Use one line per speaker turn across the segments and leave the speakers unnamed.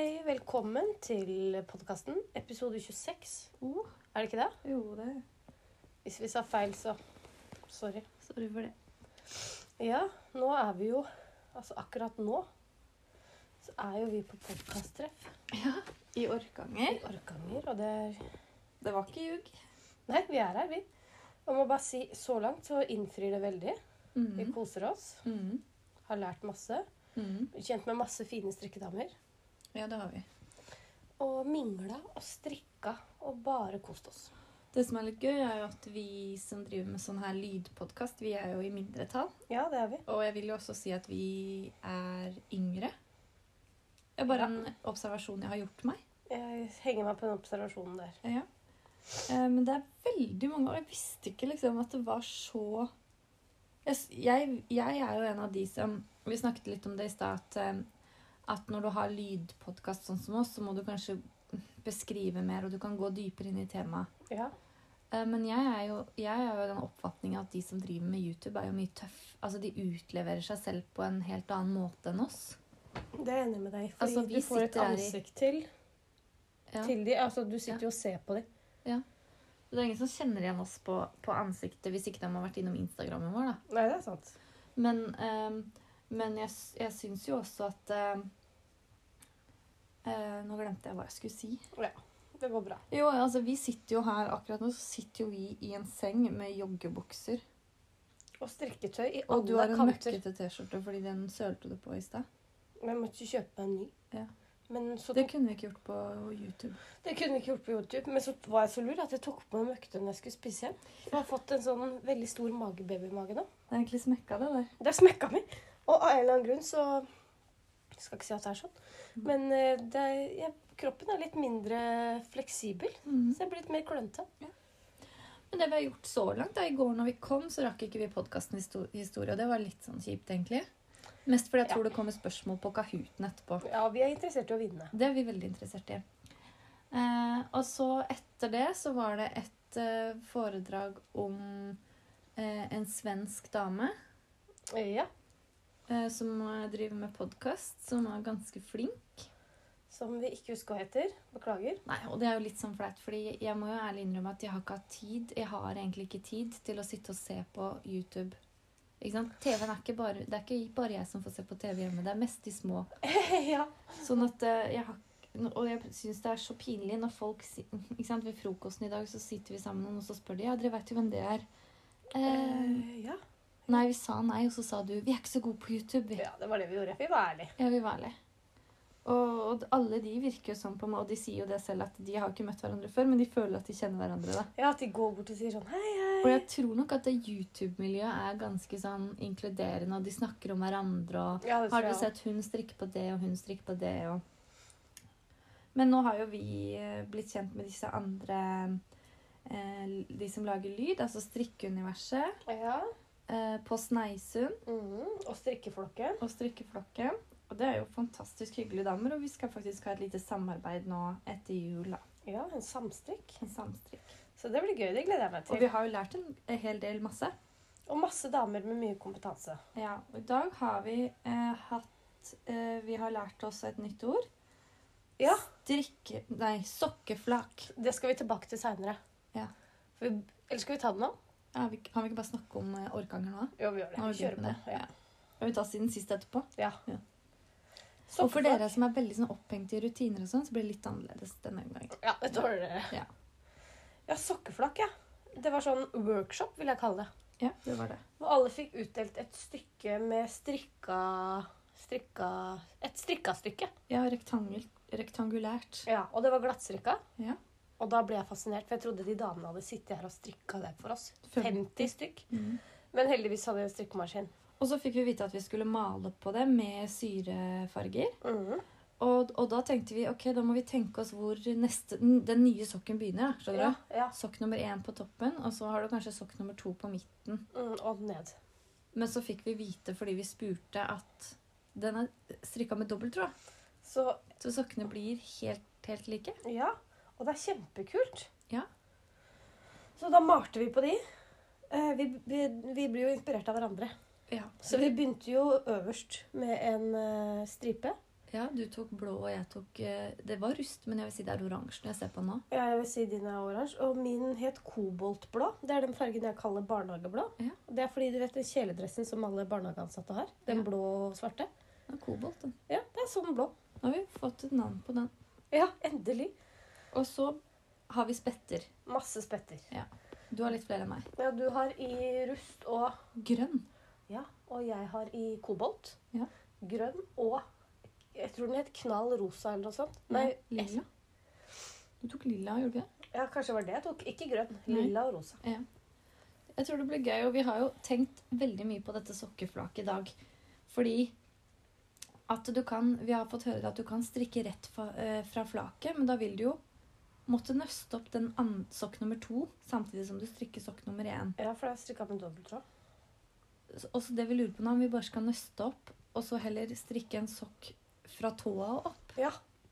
Velkommen til podkasten, episode 26.
Oh,
Er det ikke det?
jo, det
Hvis vi sa feil, så sorry.
Sorry for det.
Ja, nå er vi jo Altså akkurat nå så er jo vi på podkasttreff
I
i
Orkanger.
Orkanger, og det er
Det var ikke ljug.
Nei, vi er her, vi. Jeg må bare si så langt så innfrir det veldig. Vi koser oss.
Mm.
Har lært masse.
Mm.
Kjent med masse fine strikkedamer.
Ja, det har vi.
Og mingla og strikka og bare kost oss.
Det som er litt gøy, er jo at vi som driver med sånn her lydpodkast, vi er jo i mindretall.
Ja, det er vi.
Og jeg vil jo også si at vi er yngre. Det er
Ja.
bare en observasjon jeg har gjort meg.
Jeg henger meg på den observasjonen der.
Ja. Eh, Men det er veldig mange, og jeg visste ikke liksom at det var så Jeg, s- jeg, jeg er jo en av de som Vi snakket litt om det i stad, at, eh, at når du har lydpodkast sånn som oss, så må du kanskje beskrive mer, og du kan gå dypere inn i temaet.
Ja.
Eh, Men jeg er jo, jeg er jo i den oppfatningen at de som driver med YouTube, er jo mye tøff. Altså, de utleverer seg selv på en helt annen måte enn oss.
Det er jeg enig med deg. Fordi
Altså, vi
du får et
sitter her i-
ansikt til,
Ja.
til de. Altså, du sitter jo og ser på dem.
Det er ingen som kjenner igjen oss på, på ansiktet hvis ikke de har vært innom Instagrammen vår, da.
Nei, det er sant.
Men, ehm, men jeg, s- jeg syns jo også at ehm, eh, Nå glemte jeg hva jeg skulle si.
Det går bra.
Jo, altså vi sitter jo her akkurat nå så sitter jo vi i en seng med joggebukser.
Og strikketøy i
Og du har
alle
en
kanter.
møkkete T-skjorte fordi den sølte du på i stad.
Men jeg måtte jo kjøpe meg en ny.
Ja.
Men så
Det
tok,
kunne vi ikke gjort på YouTube.
det kunne vi ikke gjort på YouTube. Men så var jeg så lur at jeg tok på meg møkkete når jeg skulle spise hjem. For Jeg har fått en sånn veldig stor magebabymage nå.
Det er egentlig smekka, det der.
Det er smekka mi. Og av en eller annen grunn så Jeg skal ikke si at det er sånn. Men eh, det er, jeg, kroppen er litt mindre fleksibel. Så jeg blir litt mer klønete.
Men det vi har gjort så langt, da, i går når vi kom, så rakk ikke vi podkasten historie. Og det var litt sånn kjipt, egentlig. Mest fordi jeg
Ja.
tror det kommer spørsmål på Kahooten etterpå.
Ja, vi er interessert i å vinne.
Det er vi veldig interessert i. Eh, og så etter det så var det et eh, foredrag om eh, en svensk dame
Ja.
eh, som eh, driver med podkast, som er ganske flink.
Som vi ikke husker hva heter. Beklager.
Nei, og det er jo litt sånn flaut, fordi jeg må jo ærlig innrømme at jeg har ikke hatt tid. Jeg har egentlig ikke tid til å sitte og se på YouTube. Ikke sant? TV-en er ikke bare, det er ikke bare jeg som får se på TV hjemme, det er mest de små.
ja.
Sånn at eh, jeg har og jeg syns det er så pinlig når folk si- ikke sant, Ved frokosten i dag så sitter vi sammen, og så spør de ja, dere vet jo hvem det er. Eh,
Eh, ja.
nei, vi sa nei, og så sa du vi er ikke så gode på YouTube. Vi.
ja, det var det vi gjorde. Vi var ærlige.
Jeg vil være ærlig. Og, og alle de virker jo sånn på meg, og de sier jo det selv at de har ikke møtt hverandre før, men de føler at de kjenner hverandre. da.
Ja, At de går bort og sier sånn hei, hei.
Og jeg tror nok at det YouTube-miljøet er ganske sånn inkluderende, og de snakker om hverandre og
Ja, det
Har
tror
du
jeg.
sett hun strikke på det, og hun strikke på det, og Men nå har jo vi eh, blitt kjent med disse andre eh, De som lager lyd, altså strikkeuniverset,
også. Ja.
eh, på Sneisund
Mhm. Og strikkeflokken.
og strikkeflokken. Og det er jo fantastisk hyggelige damer, og vi skal faktisk ha et lite samarbeid nå etter jul. da.
Ja, en samstrikk.
En samstrikk.
Så det blir gøy. Det gleder jeg meg
Og
til.
vi har jo lært en en hel del masse.
Og masse damer med mye kompetanse.
Ja, og i dag har vi eh, hatt eh, Vi har lært oss et nytt ord.
Ja.
Drikke... Nei, sokkeflak.
Det skal vi tilbake til seinere.
Ja.
Eller skal vi ta det nå?
Ja, vi, kan vi ikke bare snakke om eh, orkanger nå?
Jo, vi gjør det.
Nå har
Vi kjører på.
begynt med
Ja.
Ja. Vi tar siden sist etterpå.
ja.
Ja.
Så
og for dere som er veldig sånn, opphengt i rutiner, og sånn, så blir det litt annerledes denne gangen.
Ja, det tåler dere.
Ja.
ja, sokkeflakk, ja. Det var sånn workshop, vil jeg kalle det.
Ja, det var det.
Hvor alle fikk utdelt et stykke med strikka Strikka Et strikka stykke.
Ja, rektangel, rektangulært.
Ja, og det var glattstrikka.
Ja.
Og da ble jeg fascinert, for jeg trodde de damene hadde sittet her og strikka det for oss. 50 stykk.
Mhm.
Men heldigvis hadde jeg en strikkemaskin.
Og så fikk vi vite at vi skulle male på det med syrefarger.
Mhm.
Og, og da tenkte vi ok, da må vi tenke oss hvor neste, den nye sokken begynner. da, skjønner
Ja,
du?
ja.
Sokk nummer én på toppen, og så har du kanskje sokk nummer to på midten.
Mm, og ned.
Men så fikk vi vite fordi vi spurte at den er strikka med dobbelttråd.
Så
Så sokkene blir helt, helt like.
ja. Og det er kjempekult.
Ja.
Så da malte vi på de. Eh, Vi, vi, vi blir jo inspirert av hverandre.
Ja.
Så vi begynte jo øverst med en eh, stripe.
Ja, du tok blå, og jeg tok eh, Det var rust, men jeg vil si det er oransje når jeg ser på den nå.
Ja, jeg vil si din er oransje. Og min het koboltblå. Det er den fargen jeg kaller barnehageblå.
Ja.
Det er fordi du vet den kjeledressen som alle barnehageansatte har. Den
Ja.
blå og svarte.
Den er kobolt, den.
Ja, det er sånn blå.
Nå har vi fått et navn på den.
Ja, endelig.
Og så har vi spetter.
Masse spetter.
Du har litt flere enn meg.
Ja, du har i rust og
Grønn.
Ja, og jeg har i kobolt.
Ja.
Grønn og Jeg tror den het knall rosa eller noe sånt. Nei,
lilla. Du tok lilla, gjorde du ikke?
ja, kanskje det var det jeg tok. Ikke grønn.
Nei.
Lilla og rosa.
det? Jeg tror det blir gøy, og vi har jo tenkt veldig mye på dette sokkeflaket i dag. Fordi at du kan Vi har fått høre at du kan strikke rett fra, eh, fra flaket, men da vil du jo måtte nøste opp den an- sokk nummer to samtidig som du strikker sokk nummer én.
Ja, for jeg strikka med dobbelttråd.
Så- Og så det vi lurer på nå, om vi bare skal nøste opp, og så heller strikke en sokk fra tåa og opp.
Ja,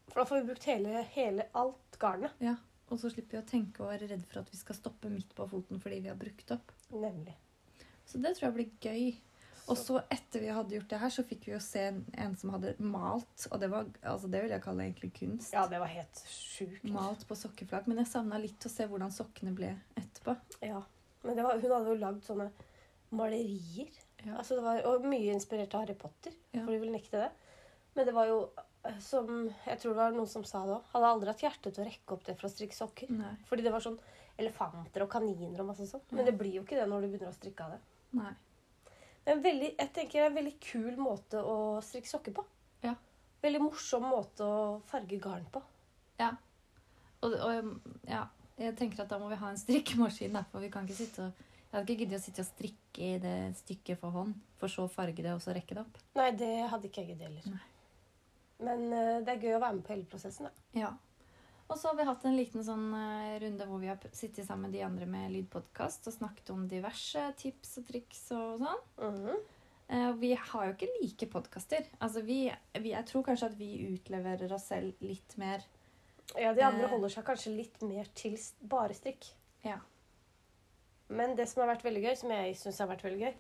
for da får vi brukt hele, hele alt garnet.
Og så slipper vi å tenke og være redd for at vi skal stoppe midt på foten fordi vi har brukt opp.
Nemlig.
Så det tror jeg blir gøy. Og
Så-
så etter vi hadde gjort det her, så fikk vi jo se en, en som hadde malt, og det var, altså det vil jeg kalle egentlig kunst.
Ja, det var helt sjukt.
Malt på sokkeflak, men jeg savna litt å se hvordan sokkene ble etterpå.
Ja. Men det var, hun hadde jo lagd sånne malerier.
Ja.
Altså det var, og mye inspirert av Harry Potter,
Ja.
for de ville nekte det. Men det var jo eh, som Jeg tror det var noen som sa det òg. Hadde aldri hatt hjerte til å rekke opp det for å strikke sokker.
Nei.
Fordi det var sånn elefanter og kaniner og masse sånt. Men
Mm. Ja.
det blir jo ikke det når du begynner å strikke av det.
Nei.
Det er en veldig, jeg tenker det er en veldig kul måte å strikke sokker på.
Ja.
Veldig morsom måte å farge garn på.
Og, og ja, jeg tenker at da må vi ha en strikkemaskin, da, for vi kan ikke sitte og Jeg hadde ikke giddet å sitte og strikke i det stykket for hånd, for så å farge det og så rekke det opp.
Nei, det hadde ikke jeg giddet heller.
Nei.
Men eh, det er gøy å være med på hele prosessen. Da.
Ja. Og så har vi hatt en liten sånn eh, runde hvor vi har pr- sittet sammen med de andre med lydpodkast og snakket om diverse tips og triks og sånn.
Mhm.
Eh, Vi har jo ikke like podkaster. Altså vi, vi, jeg tror kanskje at vi utleverer oss selv litt mer.
Ja, De andre
Eh.
holder seg kanskje litt mer til s- bare strikk.
Ja.
Men det som har vært veldig gøy, som jeg syns har vært veldig gøy,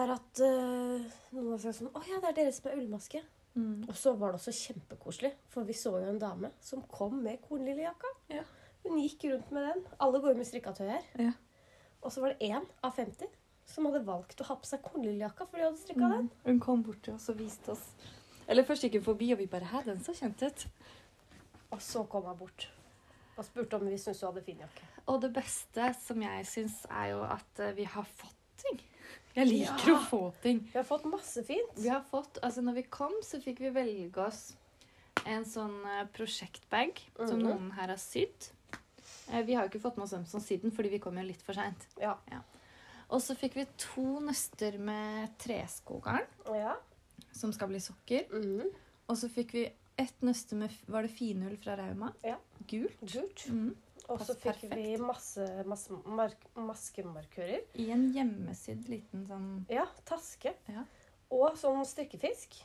er at eh, noen har sagt sånn Å ja, det er dere som er ullmaske.
Mm.
Og så var det også kjempekoselig, for vi så jo en dame som kom med kornlillejakka.
Ja.
Hun gikk rundt med den. Alle går jo med strikkatøy her.
Ja.
Og så var det én av 50 som hadde valgt å ha på seg kornlillejakka, for de hadde
Mm.
strikka den.
Hun kom bort til oss og viste oss. Eller først gikk hun forbi, og vi bare Hæ, den så kjent ut.
Og så kom hun bort og spurte om vi syntes hun hadde fin jakke.
Og det beste som jeg syns, er jo at eh, vi har fått ting. Jeg liker
Ja.
å få ting.
Vi har fått masse fint.
Vi har fått, altså når vi kom, så fikk vi velge oss en sånn eh, prosjektbag som
Mhm.
noen her har sydd. Eh, Vi har jo ikke fått med oss hvem som sydde den, fordi vi kom jo litt for seint.
Ja.
Og så fikk vi to nøster med treskogarn,
Ja.
som skal bli sokker.
Mm.
Og så fikk vi ett nøste med f- Var det finull fra Rauma?
Ja.
Gul.
Lurt.
Mhm.
Og så
Passer
fikk vi
perfekt.
masse, masse mark maskemarkører.
I en hjemmesydd liten sånn
Ja, taske.
Ja.
Og sånn strikkefisk.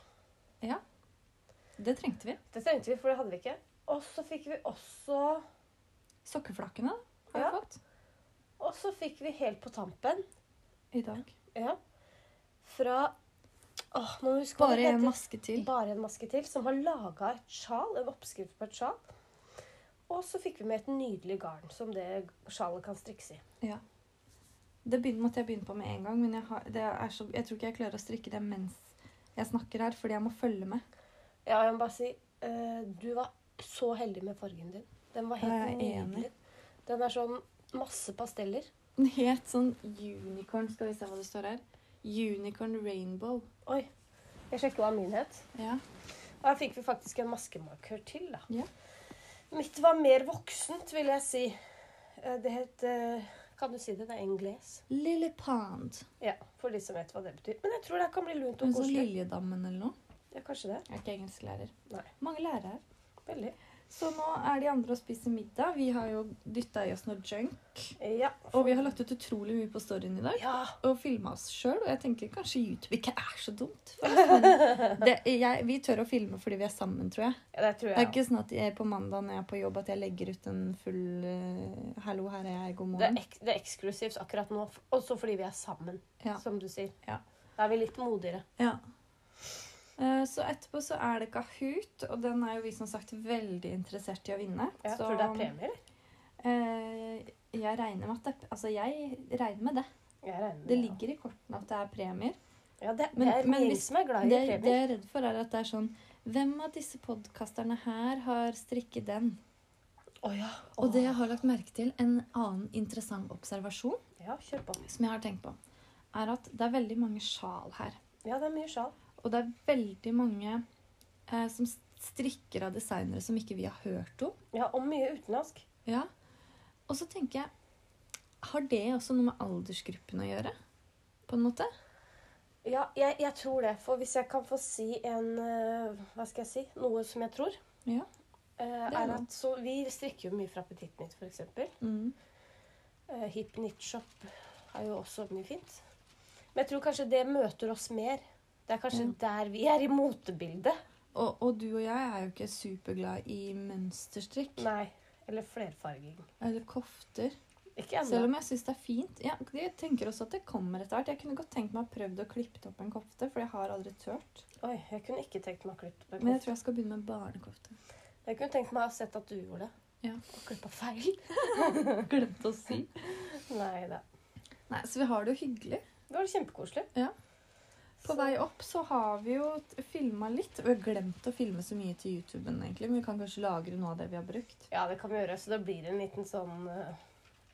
Det trengte vi.
Det trengte vi, for det hadde vi ikke. Og så fikk vi også
Sokkeflakkene har
Ja.
vi fått
Og så fikk vi helt på tampen
i dag.
ja, fra åh, nå må jeg huske hva
Bare
det
en
heter.
maske til.
Bare en maske til, som har laga et sjal. En oppskrift på et sjal. Og så fikk vi med et nydelig garn som det sjalet kan strikkes i.
Det begyn- måtte jeg begynne på med en gang, men jeg, har, det er så, jeg tror ikke jeg klarer å strikke det mens jeg snakker her, fordi jeg må følge med.
Ja, jeg må bare si eh, Du var så heldig med fargen din. Den var
Jeg
helt
er
nydelig. Den er sånn masse pasteller.
Den het sånn unicorn Skal vi se hva det står her. Unicorn rainbow.
Oi. Jeg sjekket hva min het.
Ja.
Og her fikk vi faktisk en maskemarkør til, da.
Ja.
Mitt var mer voksent, vil jeg si. Eh, Det het eh, Kan du si det? Det er engles.
Lille Pond.
Ja, for de som vet hva det betyr. Men jeg tror det kan bli lunt
Hun
og
sånn
koselig.
Liljedammen eller noe.
Ja, kanskje det.
Jeg er ikke engelsklærer.
Nei.
Mange lærere her.
Veldig.
Så nå er de andre og spiser middag. Vi har jo dytta i oss noe junk.
Ja.
Og vi har lagt ut utrolig mye på storyen i dag.
ja.
og filma oss sjøl. Og jeg tenker kanskje YouTube ikke er så dumt. For oss. det, jeg, vi tør å filme fordi vi er sammen, tror jeg.
ja, det tror
Det er
jeg.
ikke sånn at jeg på mandag når jeg er på jobb, at jeg legger ut en full eh, 'hallo, her er jeg, god
Det er,
morgen'.
ek det er eksklusivt akkurat nå. f- Også fordi vi er sammen,
Ja.
som du sier.
Ja.
Da er vi litt modigere.
Ja. Eh, Så etterpå så er det Kahoot, og den er jo vi som sagt veldig interessert i å vinne.
Ja,
så
tror du det er premie, eller?
eh, jeg regner med at det, altså jeg regner med det.
Jeg regner med
Det
ja.
ligger i kortene at det er premier.
Ja, det,
Men-
det er
men
ingen
hvis-
som er glad i
Det, det
premier.
jeg er redd for, er at det er sånn Hvem av disse podkasterne her har strikket den?
Å ja.
Og
Å.
det jeg har lagt merke til, en annen interessant observasjon
Ja, kjør på.
som jeg har tenkt på, er at det er veldig mange sjal her.
Ja, det er mye sjal.
Og det er veldig mange eh, som strikker av designere som ikke vi har hørt om.
Ja, og mye utenlandsk.
Ja. Og så tenker jeg Har det også noe med aldersgruppen å gjøre? På en måte?
Ja, jeg, jeg tror det. For hvis jeg kan få si en eh, Hva skal jeg si? Noe som jeg tror.
Ja.
eh,
Det er
er
lov.
at så Vi strikker jo mye fra Petit Nytt, f.eks.
Mm.
Uh, Hip Knit Shop er jo også mye fint. Men jeg tror kanskje det møter oss mer. Det er kanskje der vi er i motebildet.
Og, og du og jeg er jo ikke superglad i mønsterstrikk
Nei. Eller flerfarging.
eller kofter.
Ikke
Selv
ennå.
om jeg syns det er fint. Ja, jeg tenker også at det kommer etter hvert. Jeg kunne godt tenkt meg å prøvd å klippe opp en kofte, for jeg har aldri turt.
Oi, jeg kunne ikke tenkt meg å klippe på en
Men jeg
kofte.
tror jeg skal begynne med barnekofte.
Jeg kunne tenkt meg å ha sett at du gjorde det.
Ja.
Og klippa feil.
Glemte å si.
Nei da.
Nei, Så vi har det jo hyggelig.
Det var kjempekoselig.
Ja. På
Så-
vei opp så har vi jo filma litt. Vi har glemt å filme så mye til YouTuben, egentlig, men vi kan kanskje lagre noe av det vi har brukt.
Ja, det kan vi gjøre. Så da blir det en liten sånn eh,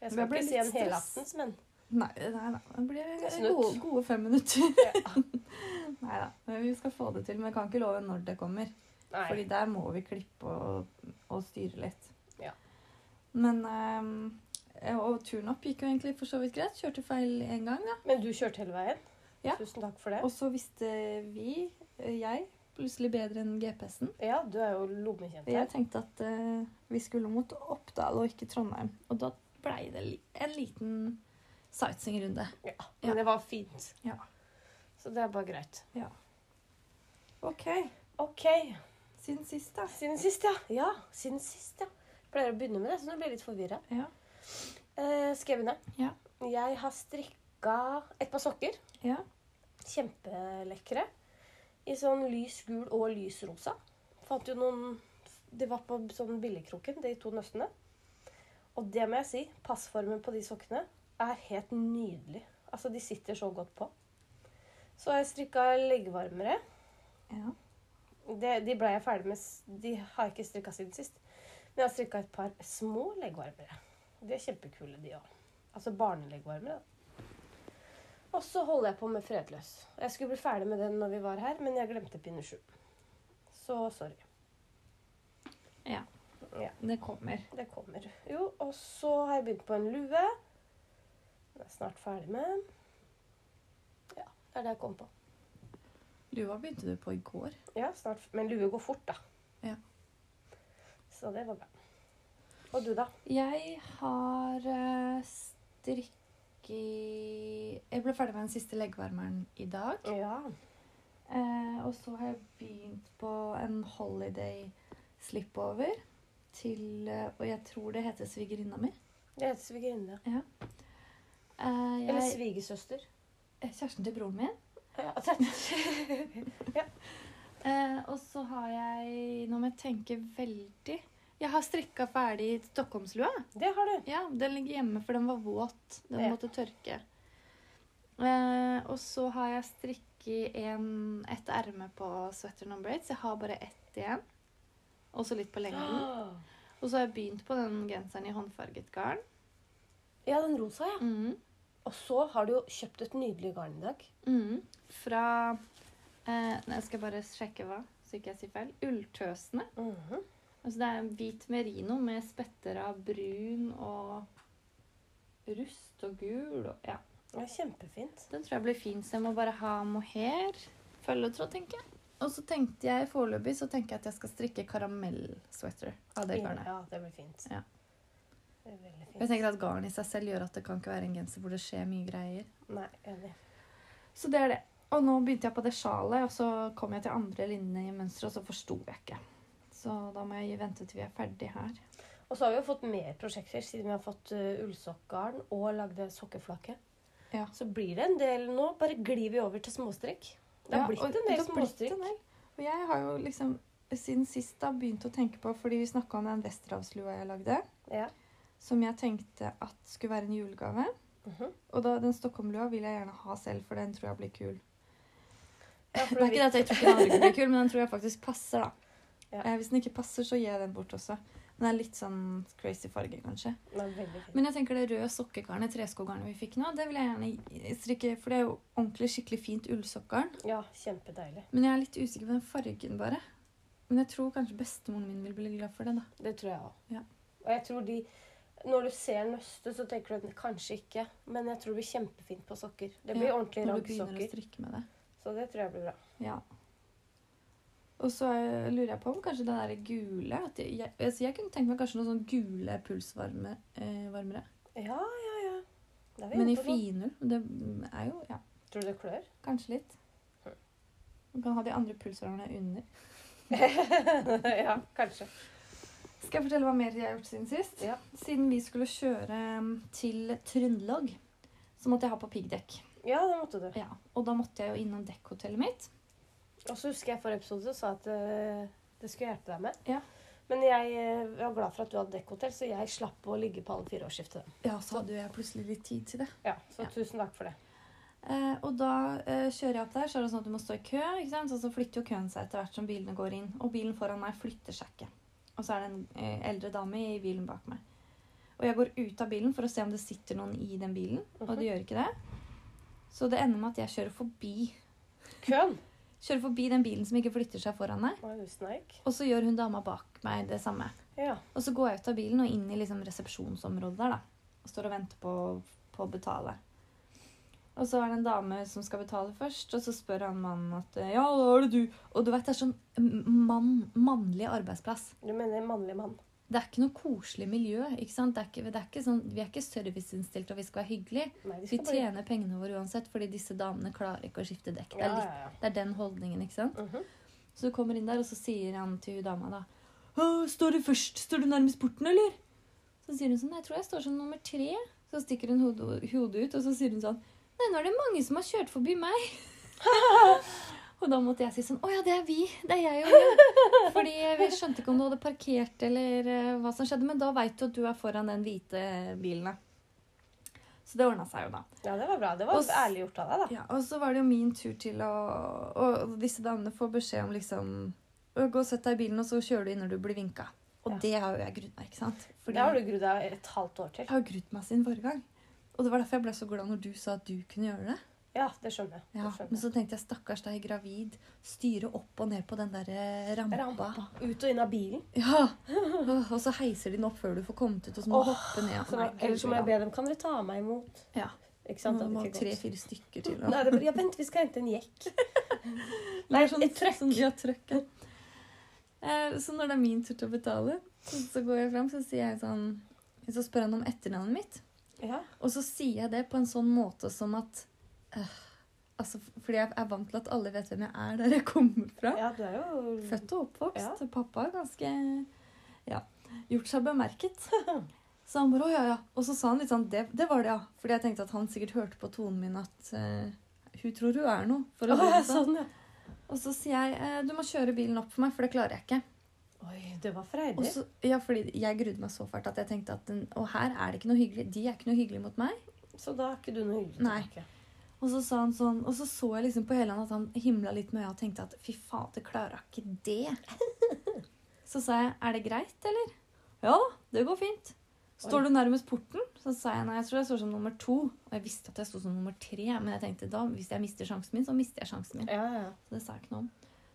Jeg
Men
skal
jeg blir
ikke si
litt
en helaftens, men
Nei, nei, nei. Det blir
Det er
gode,
snutt.
gode fem minutter.
ja.
Nei da. Men vi skal få det til. Men jeg kan ikke love når det kommer.
Nei.
Fordi der må vi klippe og, og styre litt.
Ja.
Men ehm, Og turen opp gikk jo egentlig for så vidt greit. Kjørte feil én gang, da.
Men du kjørte hele veien.
Ja.
Tusen takk for det.
Og så visste vi, eh, jeg, plutselig bedre enn GPS-en.
Ja, du er jo lommekjent her.
Jeg tenkte at eh, vi skulle mot Oppdal og ikke Trondheim. Og da blei det li- en liten sightseeingrunde. ja.
Men det var fint.
Ja.
Så det er bare greit.
OK.
OK.
Siden sist, da.
Siden sist, ja. Ja, siden sist, ja. Jeg Pleier å begynne med det, så nå blir jeg litt forvirra.
Ja.
Eh, skal jeg begynne?
Ja.
Jeg har strikka et par sokker.
Ja.
Kjempelekre. I sånn lys gul og lys rosa. Fant jo noen De var på sånn billigkroken, de to nøstene. Og det må jeg si, passformen på de sokkene er helt nydelig. Altså, de sitter så godt på. Så har jeg strikka leggevarmere.
ja.
Det, de ble jeg ferdig med s- De har jeg ikke strikka siden sist. Men jeg har strikka et par små leggvarmere. De er kjempekule, de òg. Altså barneleggvarmere. da. Og så holder jeg på med fredløs. Jeg skulle bli ferdig med den når vi var her, men jeg glemte pinne sju. Så sorry.
Det kommer.
Det kommer. Jo, og så har jeg begynt på en lue. Den er snart ferdig med. Ja, det er det jeg kom på.
Lua begynte du på i går.
Ja, snart. f- Men lue går fort, da.
Ja.
Så det var bra. Og du, da?
Jeg har eh, strikki Jeg ble ferdig med den siste leggvarmeren i dag.
Ja.
Eh, og så har jeg begynt på en holiday slipover til eh, Og jeg tror det heter svigerinna mi.
Det heter svigerinne.
Eh,
Eller
jeg,
svigersøster.
kjæresten til broren min.
Ja, det-
Eh, og så har jeg Nå må jeg tenke veldig Jeg har strikka ferdig Stockholmslua.
det har du.
Ja, den ligger hjemme, for den var våt. Den
Ja.
måtte tørke. Eh, og så har jeg strikket en, et erme på sweateren on braids. Jeg har bare ett igjen. Og så litt på lengden. Og så har jeg begynt på den genseren i håndfarget garn.
Ja, den rosa, ja.
Mhm.
Og så har du jo kjøpt et nydelig garn i dag.
Mhm. Fra eh, nei, Jeg skal bare sjekke hva, så ikke jeg sier feil. Ulltøsene.
Mhm.
Altså det er en hvit merino med spetter av brun og rust og gul og ja.
Det er kjempefint.
Den tror jeg blir fin, så jeg må bare ha mohair. Følgetråd, tenker jeg. Og så tenkte jeg foreløpig så tenker jeg at jeg skal strikke karamellsweater av det garnet.
Ja, det blir fint.
Ja.
Det er veldig fint.
Jeg tenker at Garn i seg selv gjør at det kan ikke være en genser hvor det skjer mye greier.
Nei, enig.
Så det er det. Og nå begynte jeg på det sjalet, og så kom jeg til andre linje i mønsteret, og så forsto jeg ikke. Så da må jeg vente til vi er ferdig her.
Og så har vi jo fått mer prosjekter siden vi har fått uh, ullsokkgarn og lagde sokkeflake.
Ja.
Så blir det en del nå. Bare glir vi over til småstrikk. Det har
Ja,
blitt
og
en del
det har blitt
småstrikk.
en del. For jeg har jo liksom siden sist da begynt å tenke på, fordi vi snakka om den Westerdalslua jeg lagde,
Ja.
som jeg tenkte at skulle være en julegave.
Mhm.
Og da, den Stockholm-lua vil jeg gjerne ha selv, for den tror jeg blir kul.
Ja, for
Det er
vi-
ikke det at jeg tror ikke den andre blir kul, men den tror jeg faktisk passer, da.
Ja.
Eh, hvis den ikke passer, så gir jeg den bort også. Den er litt sånn crazy farge, kanskje.
Den er veldig fin.
Men jeg tenker det røde sokkegarnet, treskogarnet vi fikk nå, det vil jeg gjerne strikke, for det er jo ordentlig skikkelig fint ullsokkgarn.
Ja, kjempedeilig.
Men jeg er litt usikker på den fargen, bare. Men jeg tror kanskje bestemoren min vil bli glad for det, da.
Det tror jeg òg.
Ja.
Og jeg tror de Når du ser nøstet, så tenker du at kanskje ikke, men jeg tror det blir kjempefint på sokker. Det blir
Ja,
ordentlig
Når du begynner å
raggsokker.
strikke med det.
Så det tror jeg blir bra.
Ja. Og så eh, lurer jeg på om kanskje det der gule at jeg, jeg, altså jeg kunne tenke meg kanskje noen sånn gule pulsvarmere. Eh, varmere.
Ja, ja, ja. Da er vi
men i
inne på noe.
finull. Det er jo ja,
Tror du det klør?
kanskje litt. Man kan ha de andre pulsvarmerne under.
ja, kanskje.
Skal jeg fortelle hva mer jeg har gjort siden sist?
Ja.
Siden vi skulle kjøre mm, til Trøndelag, så måtte jeg ha på piggdekk.
Ja, det måtte du.
Ja, og da måtte jeg jo innom dekkhotellet mitt.
Og så husker jeg forrige episode så sa jeg at eh, det skulle jeg hjelpe deg med.
Ja.
Men jeg eh, var glad for at du hadde dekkhotell, så jeg slapp å ligge på alle fire årsskiftene.
Ja, så hadde jo jeg plutselig litt tid til det.
Ja, så
Ja.
tusen takk for det.
Eh, og da eh, kjører jeg opp der, så er det sånn at du må stå i kø. ikke sant? Og så flytter jo køen seg etter hvert som bilene går inn. Og bilen foran meg flytter seg ikke. Og så er det en eh, eldre dame i bilen bak meg. Og jeg går ut av bilen for å se om det sitter noen i den bilen, og det gjør ikke det. Så det ender med at jeg kjører forbi,
Køen!
kjører forbi den bilen som ikke flytter seg foran meg.
Var jo sneik.
Og så gjør hun dama bak meg det samme.
Ja.
Og så går jeg ut av bilen og inn i liksom resepsjonsområdet der, da. Og står og venter på, på å betale. Og så er det en dame som skal betale først, og så spør han mannen at Ja, hva er det du Og du vet, det er sånn mann, mannlig arbeidsplass.
Du mener mannlig mann.
Det er ikke noe koselig miljø. ikke sant? Det er ikke, det er ikke sånn, vi er ikke serviceinnstilte, og vi skal være hyggelige.
Nei, de
Vi
skal bare
tjener pengene våre uansett, fordi disse damene klarer ikke å skifte dekk. Det
Ja,
er, litt,
ja, ja.
det er den holdningen, ikke sant?
Mhm.
Så du kommer inn der, og så sier han til hun dama da «Å, Står du først? Står du nærmest porten, eller? Så sier hun sånn Jeg tror jeg står som nummer tre. Så stikker hun hodet, hodet ut, og så sier hun sånn Nei, nå er det mange som har kjørt forbi meg. og da måtte jeg si sånn Å ja, det er vi. Det er jeg og hun. Fordi vi skjønte ikke om du hadde parkert eller eh, hva som skjedde, men da veit du at du er foran den hvite bilen, da. Så det ordna seg jo, da.
Ja, det var bra. Det var
Og s-
ærlig gjort av deg, da.
Ja, og så var det jo min tur til å Og disse damene får beskjed om liksom «Å, Gå og sett deg i bilen, og så kjører du inn når du blir vinka. Og
Ja.
det har jo jeg grudd meg, ikke sant? Fordi
Det har du grudd deg et halvt år
Jeg
til.
har grudd meg siden forrige gang. Og det var derfor jeg ble så glad når du sa at du kunne gjøre det.
Ja, det skjønner jeg. Det
Ja,
skjønner
Men så tenkte jeg stakkars deg, gravid. Styre opp og ned på den der eh, rampa.
jeg. Rampa. Ut og inn av bilen.
Ja, Åh, Og så heiser de den opp før du får kommet ut, og så må du
Åh,
hoppe ned.
Så,
Nei,
eller så må jeg
gud,
be dem Kan dere ta meg imot?
Ja.
Ikke
ja.
sant?
Nå
At
må
det ikke går.
tre-fire stykker til. og-
Nei, det er bare, ja, vent, vi skal hente en jekk. Nei,
Det er
et trøkk.
Sånn, ja, trøkk. ja. Eh, så når det er min tur til å betale, så, så går jeg fram så sier jeg sånn Så spør han om etternavnet mitt.
Ja.
Og så sier jeg det på en sånn måte som at eh, Altså, Fordi jeg er vant til at alle vet hvem jeg er der jeg kommer fra.
ja, du er jo
Født og oppvokst.
Ja.
og Pappa har ganske ja, gjort seg bemerket. Så han bare, «Å, ja, ja. Og så sa han litt sånn det, det var det, ja. Fordi jeg tenkte at han sikkert hørte på tonen min at eh, hun tror hun er noe. For å
Å,
si
ja,
det sånn.
sånn, ja.
Og så sier jeg eh, du må kjøre bilen opp for meg, for det klarer jeg ikke.
Oi, det var
Og
freidig.
så, ja, fordi Jeg grudde meg så fælt at jeg tenkte at den, og her er det ikke noe hyggelig. de er ikke noe hyggelige mot meg.
Så da er ikke du noe hyggelig
Nei.
tilbake.
Og så sa han sånn, og så så jeg liksom på hele han at han himla litt med øya og tenkte at fy faen, det klarer jeg ikke det. Så sa jeg er det greit, eller? Ja da, det går fint. Står du nærmest porten? Så sa jeg nei, jeg tror jeg står som nummer to. Og jeg visste at jeg sto som nummer tre, men jeg tenkte da, hvis jeg mister sjansen min, så mister jeg sjansen min.
Ja, ja, ja.
Så det sa jeg ikke noe om.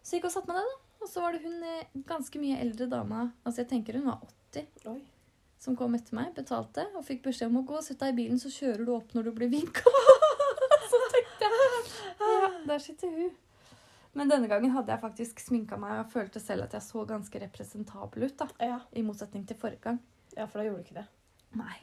Så jeg gikk og satt med det, da. Og så var det hun eh, ganske mye eldre dama, altså jeg tenker hun var 80,
Oi.
som kom etter meg, betalte og fikk beskjed om å gå og sette deg i bilen, så kjører du opp når du blir vinka. så tenkte jeg ja, der sitter hun. Men denne gangen hadde jeg faktisk sminka meg og følte selv at jeg så ganske representabel ut. da,
Ja.
I motsetning til forrige gang.
ja, for da gjorde du ikke det.
Nei.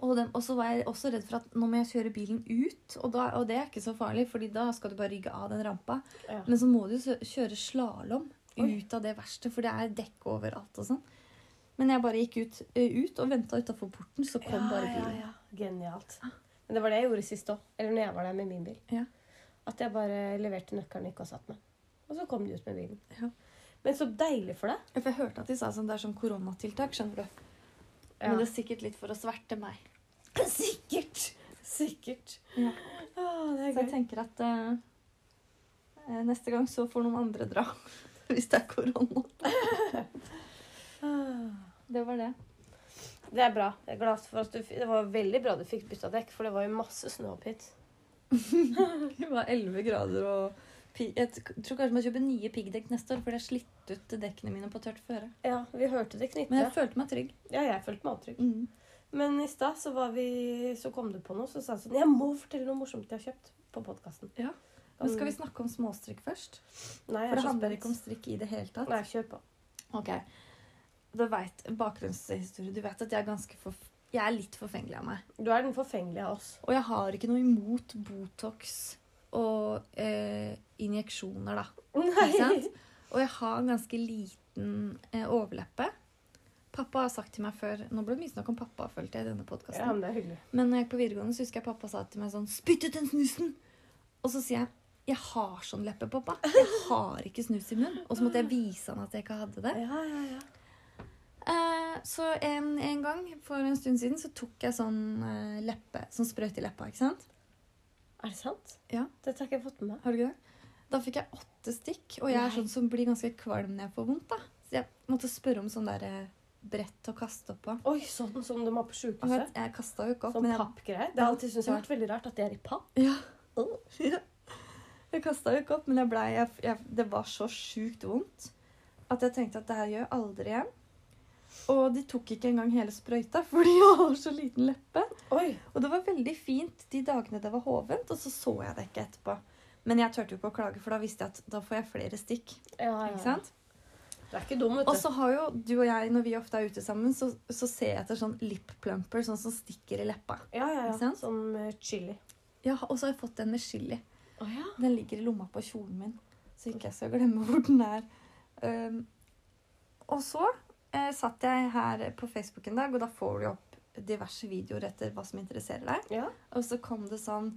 Og, den, og så var jeg også redd for at nå må jeg kjøre bilen ut, og, da, og det er ikke så farlig, fordi da skal du bare rygge av den rampa.
Ja.
Men så må du jo kjøre slalåm
Oi.
ut av det verste, for det er dekk overalt og sånn. Men jeg bare gikk ut, ø, ut og venta utafor porten, så kom bare bilen.
Ja, ja. Genialt. Men det var det jeg gjorde sist òg. Eller når jeg var der med min bil.
Ja.
At jeg bare leverte nøkkelen og gikk og satt meg. Og så kom de ut med bilen.
Ja.
Men så deilig for deg.
For jeg hørte at de sa sånn, det er sånn koronatiltak, skjønner du. Men det er sikkert litt for å sverte meg.
Sikkert. Sikkert.
Ja.
Å, det er
Så jeg
gøy.
tenker at eh, eh, neste gang så får noen andre dra. Hvis det er korona.
Ah.
Det var det.
Det er bra. Jeg er glad for at du, f- det var veldig bra du fikk bytta dekk, for det var jo masse snø opp hit.
Det var 11 grader og pi- Jeg t- tror kanskje man kjøper nye piggdekk neste år, for det er slitt ut dekkene mine på tørt føre.
Ja, vi hørte det knytte.
Men jeg følte meg trygg.
Ja, jeg følte meg avtrykk.
Mm.
Men i stad så, var vi- så kom du på noe, så sa jeg sånn Jeg må fortelle noe morsomt jeg har kjøpt på podkasten.
Ja. Men skal vi snakke om småstrikk først?
Nei, jeg
For
er
det
så
handler
spent.
ikke om strikk i det hele tatt.
Nei, kjør på.
Ok. Du vet, bakgrunnshistorie. Du vet at jeg er ganske forf... Jeg er litt forfengelig av meg.
Du er den forfengelige av oss.
Og jeg har ikke noe imot Botox og eh, injeksjoner, da. Ikke sant? Og jeg har en ganske liten eh, overleppe. Pappa har sagt til meg før Nå ble det mye snakk om pappa, følte jeg, i denne podkasten.
Ja, men det er hyggelig.
Men når jeg gikk på videregående, så husker jeg pappa sa til meg sånn Spytt ut den snusen! Og så sier jeg jeg har sånn leppe, pappa. Jeg har ikke snus i munnen. Og så måtte jeg vise han at jeg ikke hadde det.
Ja, ja, ja.
Eh, så en, en gang for en stund siden så tok jeg sånn eh, leppe, sånn sprøyte i leppa. ikke sant?
Er det sant?
Ja.
Dette har ikke jeg fått med meg.
Har du ikke det? Da fikk jeg åtte stikk, og jeg er
Nei.
sånn som blir ganske kvalm når jeg får vondt. da. Så jeg måtte spørre om sånn der eh, brett å kaste opp på.
Oi, sånn som de har på
Og jeg,
sjukehuset.
jeg kasta jo ikke opp,
Sånn
men jeg
pappgreier. Det har alltid syntes jeg har vært veldig rart at det er i papp.
Ja.
Åh.
Ja. Jeg kasta jo ikke opp, men jeg ble, jeg, jeg, det var så sjukt vondt at jeg tenkte at det her gjør jeg aldri igjen. Og de tok ikke engang hele sprøyta fordi jeg har så liten leppe.
Oi.
Og det var veldig fint de dagene det var hovent, og så så jeg det ikke etterpå. Men jeg turte jo ikke å klage, for da visste jeg at da får jeg flere stikk.
Ja,
ikke sant?
Det er ikke dum, vet du.
Og så har jo du og jeg, når vi ofte er ute sammen, så, så ser jeg etter sånn lip plumper, sånn som stikker i leppa.
ja, ja,
Ikke
ja.
sant?
Som eh, chili.
Ja, Og så har jeg fått den med chili.
Å ja.
Den ligger i lomma på kjolen min, så ikke jeg skal glemme hvor den er. Um, og så eh, satt jeg her på Facebook en dag, og da får du jo opp diverse videoer etter hva som interesserer deg.
Ja.
Og så kom det sånn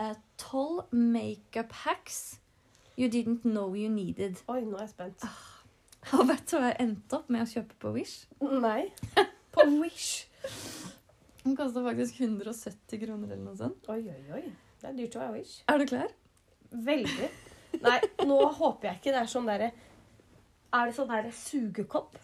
eh, 12 makeup hacks you didn't know you needed.
Oi, nå er jeg spent.
Ah. Og vet du hva jeg endte opp med å kjøpe på Wish?
Nei. På Wish.
Den kosta faktisk 170 kroner eller noe sånt.
Oi, oi, oi. Det er dyrt å være Wish.
Er du klar?
Veldig. Nei, nå håper jeg ikke det er sånn derre Er det sånn derre sugekopp?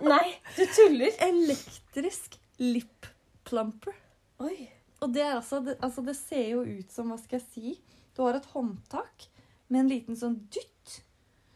Nei, du tuller.
Elektrisk lip plumper.
Oi.
Og det, er altså, det, altså, det ser jo ut som, hva skal jeg si Du har et håndtak med en liten sånn dytt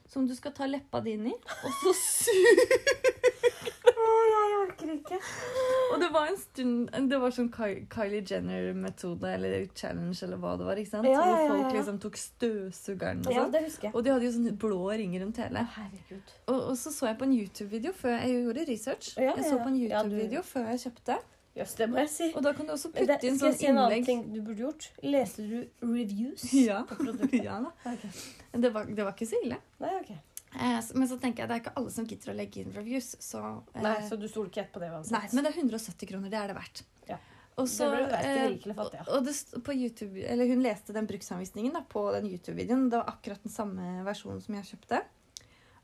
som du skal ta leppa di inn i, og så suge.
Jeg orker ikke.
Og det var en stund Det var sånn Ky Kylie Jenner-metode eller challenge eller hva det var. ikke sant?
Ja, ja, ja,
Hvor
ja,
folk
ja.
liksom tok støvsugeren og
Ja,
sånn.
det husker jeg.
Og de hadde jo sånne blå ringer rundt hele.
Herregud.
Og, og så så jeg på en YouTube-video før jeg gjorde research.
Ja, ja,
Jeg så
ja.
på en
Ja, du-
YouTube-video før jeg kjøpte.
Jøss, det må jeg si.
Og da kan du også
Men
putte
det-
inn
skal jeg
sånn
si en annen
innlegg.
ting du burde gjort? Leste du reviews
Ja.
på produktet?
Ja, da.
Ok.
Det, var, det var ikke så ille.
Nei, ok.
Eh, s- Men så tenker jeg det er ikke alle som gidder å legge inn reviews. Så, eh,
Nei, Så du stoler ikke helt på det uansett?
nei, men det er 170 kroner. Det er det verdt.
Ja.
Og så,
Det blir verdt til
eh,
rike eller fattige.
og- og det st- på YouTube, eller hun leste den bruksanvisningen da, på den YouTube-videoen. Det var akkurat den samme versjonen som jeg kjøpte.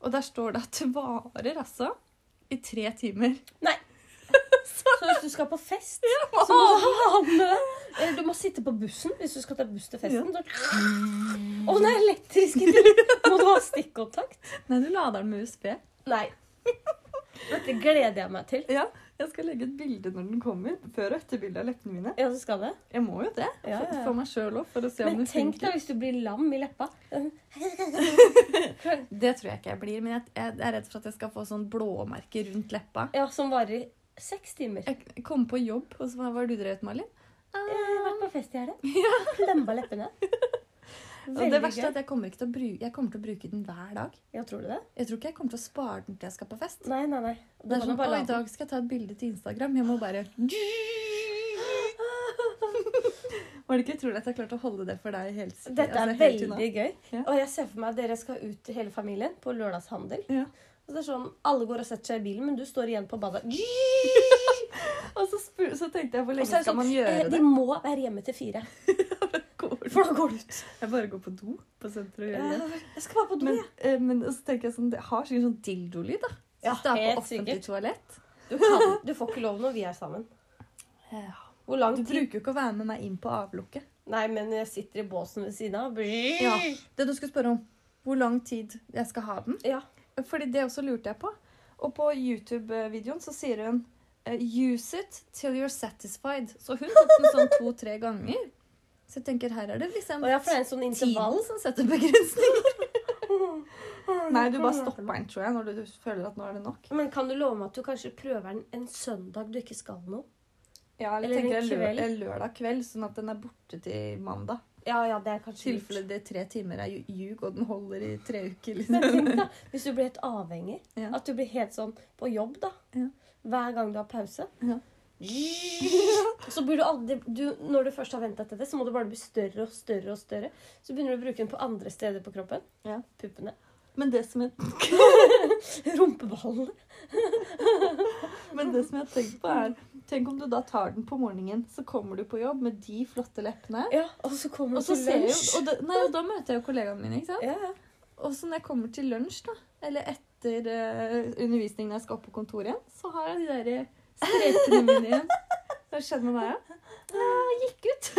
Og der står det at det varer altså i tre timer.
Så hvis du skal på fest, så må du ha med deg Eller du må sitte på bussen hvis du skal ta buss til festen. Så... Å nei, elektriske ting! Må du ha stikkontakt?
Nei, du lader den med USB.
Nei. Dette gleder jeg meg til.
Ja, jeg skal legge et bilde når den kommer. Før og etter bilde av leppene mine.
Ja, du skal det?
Jeg må jo det.
Ja,
for-
ja, ja.
For meg sjøl òg, for å se om
Men
det
tenk
funker.
deg hvis du blir lam i leppa.
Det tror jeg ikke jeg blir, men jeg, jeg er redd for at jeg skal få sånn blåmerke rundt leppa.
Ja, Som varer i seks timer.
Jeg kom på jobb, og så var- hva har du drevet med, Malin?
Jeg har vært på fest i helga.
Ja.
Klemma leppene.
Og det
Veldig
verste er
gøy.
at jeg kommer, ikke til å bruke, jeg kommer til å bruke den hver dag.
Ja, tror du det?
Jeg tror ikke jeg kommer til å spare den til jeg skal på fest.
Nei, nei, nei.
Det
kan
er
du
sånn,
bare
«Å,
la
I
den.
dag skal jeg ta et bilde til Instagram. Jeg må bare Var det ikke utrolig at jeg klarte å holde det for deg helt sikkert?
Dette er
altså, helt til nå?
veldig gøy.
Ja.
Og jeg ser for meg at dere skal ut hele familien på lørdagshandel.
Ja.
Og det er sånn, Alle går og setter seg i bilen, men du står igjen på badet.
Og så, spur, så tenkte jeg hvor
Og
lenge
så er det
skal
sånn,
man
eh,
gjøre
De
det?
må være hjemme til fire.
Går det
Hvordan går det ut?
Jeg bare går på do på senteret og gjør det.
Jeg skal bare på do,
Men,
jeg.
eh, men så tenker jeg sånn, det har sikkert sånn dildo-lyd, da.
Ja,
Hvis det er
helt
på offentlig
sikkert.
toalett.
Du, kan, du får ikke lov når vi er sammen. Hvor lang
Du
tid?
bruker jo ikke å være med meg inn på avlukket.
Nei, men jeg sitter i båsen ved siden av.
Ja. Det du skulle spørre om, hvor lang tid jeg skal ha den.
Ja.
Fordi det også lurte jeg på. Og på YouTube-videoen så sier hun eh, Use it till you're satisfied. Så hun tok den sånn to-tre ganger. Så jeg tenker, her er det liksom
Og jeg får en sånn intervall.
tiden som setter begrensninger. Nei, du bare stopper den, tror jeg, når du føler at nå er det nok.
Men kan du love meg at du kanskje prøver den en søndag du ikke skal noe?
Ja, eller
Eller
tenker
en
jeg lø
kveld.
en lørdag kveld, sånn at den er borte til mandag.
Ja, ja, det er
I
kanskje lurt.
tilfelle det tre timer er ju- ljug, og den holder i tre uker.
Men
Liksom.
tenk da, hvis du blir helt avhengig.
Ja.
At du blir helt sånn på jobb, da.
Ja.
Hver gang du har pause.
Ja.
Og Så blir du aldri du, Når du først har vent deg til det, så må du bare bli større og større. og større Så begynner du å bruke den på andre steder på kroppen.
Ja.
Puppene.
Men det som jeg,
Rumpeballene.
men det som jeg har tenkt på er, tenk om du da tar den på morgenen, så kommer du på jobb med de flotte leppene.
Ja, og så kommer
Og
du
så
til
ser jeg,
lunsj.
jo- og da, nei, og da møter jeg jo kollegaene mine, ikke sant?
Ja, ja.
Og så når jeg kommer til lunsj da, eller etter eh, undervisning når jeg skal opp på kontoret igjen, så har jeg de der strekene mine igjen. Hva skjedde med meg da? Jeg gikk ut.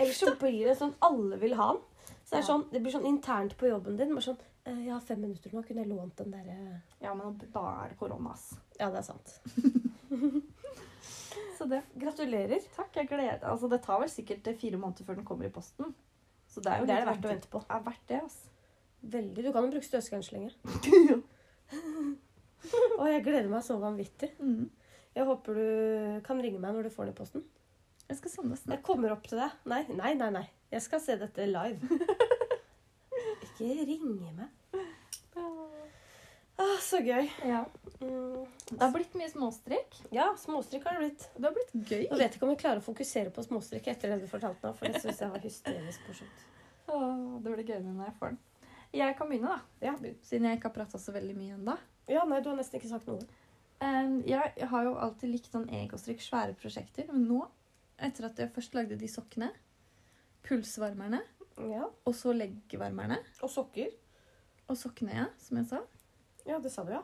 Ellers så blir det sånn alle vil ha den. Så det, er
Ja.
sånn, det blir sånn internt på jobben din. Bare sånn, «Eh, jeg har fem minutter nå, kunne jeg lånt den derre
Ja, men da er det korona, ass.
Ja, det er sant.
Så det.
Gratulerer.
Takk, jeg gleder Altså, det tar vel sikkert eh, fire måneder før den kommer i posten. Så det er jo
Det er
litt
det verdt å vente på.
Det er verdt det, altså. ass.
Veldig. Du kan jo bruke støvsugeren så lenge. Og jeg gleder meg så vanvittig.
Mm.
Jeg håper du kan ringe meg når du får den i posten.
Jeg skal sende det
Jeg
snart.
kommer opp til deg. Nei, nei, nei. nei. Jeg skal se dette live. Ikke ringe meg. Ah, så gøy.
Ja.
Mm.
Det har blitt mye småstrek.
Ja, småstrikk har det blitt.
Det har blitt gøy.
Jeg vet ikke om jeg klarer å fokusere på småstrikk etter det du fortalte nå, for det syns jeg var hysterisk morsomt.
Åh, det blir gøy når jeg får den. Jeg kan begynne, da.
Ja.
Siden jeg ikke har prata så veldig mye ennå.
ja, nei, du har nesten ikke sagt noe.
Em, Ehm, jeg har jo alltid likt sånn egostrikk, svære prosjekter. Men nå, etter at jeg først lagde de sokkene, pulsvarmerne,
Ja.
og så leggvarmerne,
Og sokker.
og sokkene, ja, som jeg sa,
Ja, det sa du, ja.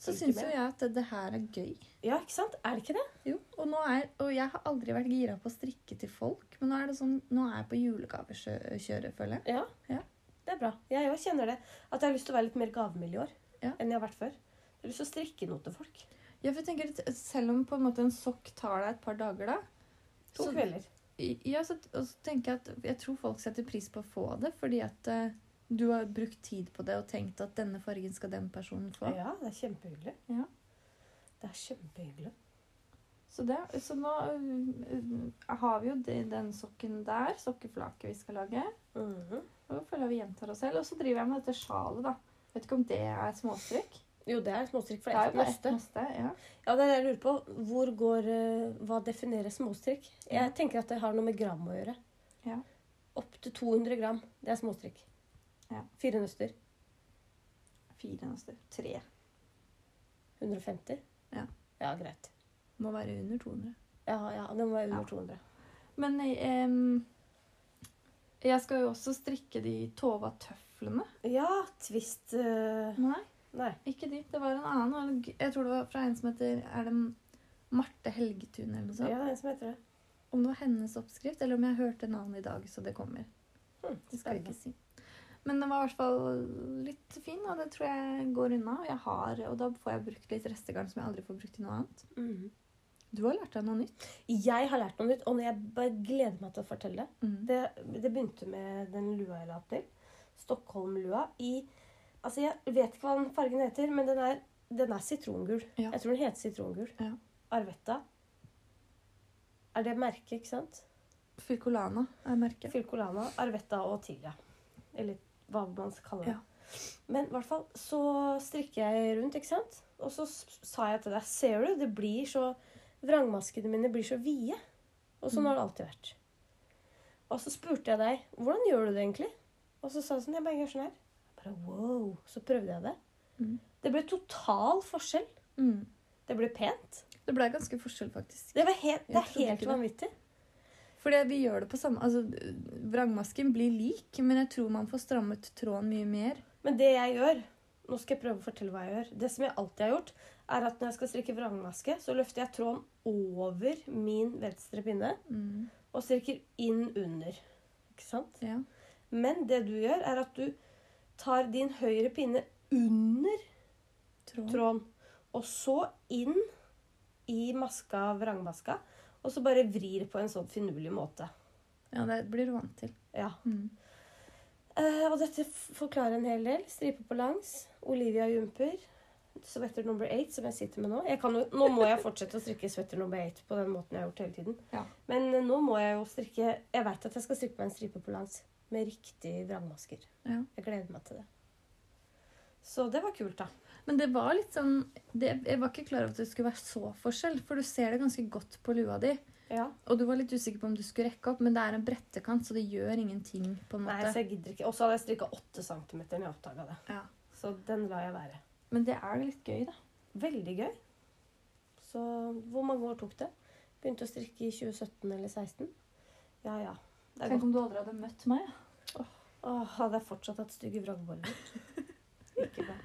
så
Ikke
syns jo
mer.
jeg at det, det her er gøy.
Ja, ikke sant? Er det ikke det?
Jo, og, nå er, og jeg har aldri vært gira på å strikke til folk, men nå er det sånn, nå er jeg på julegavekjøret, føler jeg.
Ja.
Ja.
Det er bra. Jeg òg kjenner det. At jeg har lyst til å være litt mer gavmild i år
Ja.
enn jeg har vært før. Jeg har lyst til å strikke noe til folk.
Ja, for jeg tenker at Selv om på en måte en sokk tar deg et par dager, da
To
så,
kvelder.
ja, så, og så tenker Jeg at jeg tror folk setter pris på å få det, fordi at eh, du har brukt tid på det og tenkt at denne fargen skal den personen få.
Ja, det er kjempehyggelig.
Ja.
Det er kjempehyggelig.
Så, det, så nå eh, har vi jo de, den sokken der, sokkeflaket vi skal lage.
Mhm.
Og føler jeg vi gjentar oss selv. Og så driver jeg med dette sjalet, da. Vet ikke om det er småstrykk?
Jo, det er småstrikk for
Det er
ett
jo bare ett
nøste.
nøste. Ja.
Ja, det er det jeg lurer på. Hvor går, eh, hva definerer småstrikk? Jeg
Ja.
tenker at det har noe med gram å gjøre.
Ja.
Opptil 200 gram. Det er småstrikk.
Ja.
Fire nøster.
Fire nøster. Tre.
150.
Ja.
ja, greit.
Må være under 200.
Ja, ja, det må være under
Ja.
200.
Men eh, em, jeg skal jo også strikke de Tova-tøflene.
Ja, twist eh,
Nei,
Nei.
ikke de. Det var en annen. og en g- Jeg tror det var fra en som heter Er det Marte Helgetun eller noe
Ja,
sånt?
det er en som heter det.
Om det var hennes oppskrift, eller om jeg hørte navnet i dag, så det kommer.
Hm,
Det skal jeg ikke si. Men den var i hvert fall litt fin, og det tror jeg går unna. Og, jeg har, og da får jeg brukt litt restegarn som jeg aldri får brukt til noe annet.
Mhm.
Du har lært deg noe nytt.
Jeg har lært noe nytt, og når jeg bare gleder meg til å fortelle det.
Mm.
Det, det begynte med den lua jeg la opp til. Stockholm-lua i Altså, jeg vet ikke hva den fargen heter, men den er, den er sitrongul.
Ja.
Jeg tror den heter sitrongul.
Ja.
Arvetta. Er det merket, ikke sant?
Fyrkolana er merket.
Filcolana, Arvetta og Tigra. Eller hva man skal kalle det.
Ja.
Men i hvert fall så strikker jeg rundt, ikke sant? Og så s- sa jeg til deg Ser du, det blir så Vrangmaskene mine blir så vide. Og sånn har det alltid vært. Og så spurte jeg deg hvordan gjør du det egentlig? Og så sa du sånn Jeg bare gjør sånn her. Jeg bare, wow. Så prøvde jeg det.
Mm.
Det ble total forskjell.
Mm.
Det ble pent.
Det ble ganske forskjell, faktisk.
Det, var helt, det
Jeg
er
trodde
helt
ikke det.
vanvittig.
Fordi vi gjør det på samme Altså, vrangmasken blir lik, men jeg tror man får strammet tråden mye mer.
Men det jeg gjør Nå skal jeg prøve å fortelle hva jeg gjør. Det som jeg alltid har gjort, er at når jeg skal strikke vrangmaske, så løfter jeg tråden over min venstre pinne
Mm.
og strikker inn under. Ikke sant?
Ja.
Men det du gjør, er at du tar din høyre pinne under
Tråden.
tråden, og så inn i maska, vrangmaska, og så bare vrir på en sånn finurlig måte.
Ja, det blir du vant til.
Ja.
Mm.
Eh, og dette f- forklarer en hel del. Stripe på langs, Olivia Jumper, sweater number eight, som jeg sitter med nå. Jeg kan jo, nå må jeg fortsette å strikke sweater number eight på den måten jeg har gjort hele tiden.
Ja.
Men eh, nå må jeg jo strikke Jeg veit at jeg skal strikke meg en stripe på langs med riktig vrangmasker.
Ja.
Jeg gleder meg til det. Så det var kult, da.
Men det var litt sånn det, Jeg var ikke klar over at det skulle være så forskjell, for du ser det ganske godt på lua di.
Ja.
Og du var litt usikker på om du skulle rekke opp, men det er en brettekant, så det gjør ingenting. på en
Nei,
måte.
så jeg gidder ikke. Og så hadde jeg strikka åtte centimeter når jeg oppdaga det.
Ja.
Så den lar jeg være.
Men det er litt gøy, da.
Veldig gøy. Så hvor mange år tok det? Begynte å strikke i 2017 eller 2016. Ja, ja. Det er
Tenk
godt.
om du aldri hadde møtt meg. ja.
Åh, hadde jeg fortsatt hatt stygge vrangboller. Ikke bra.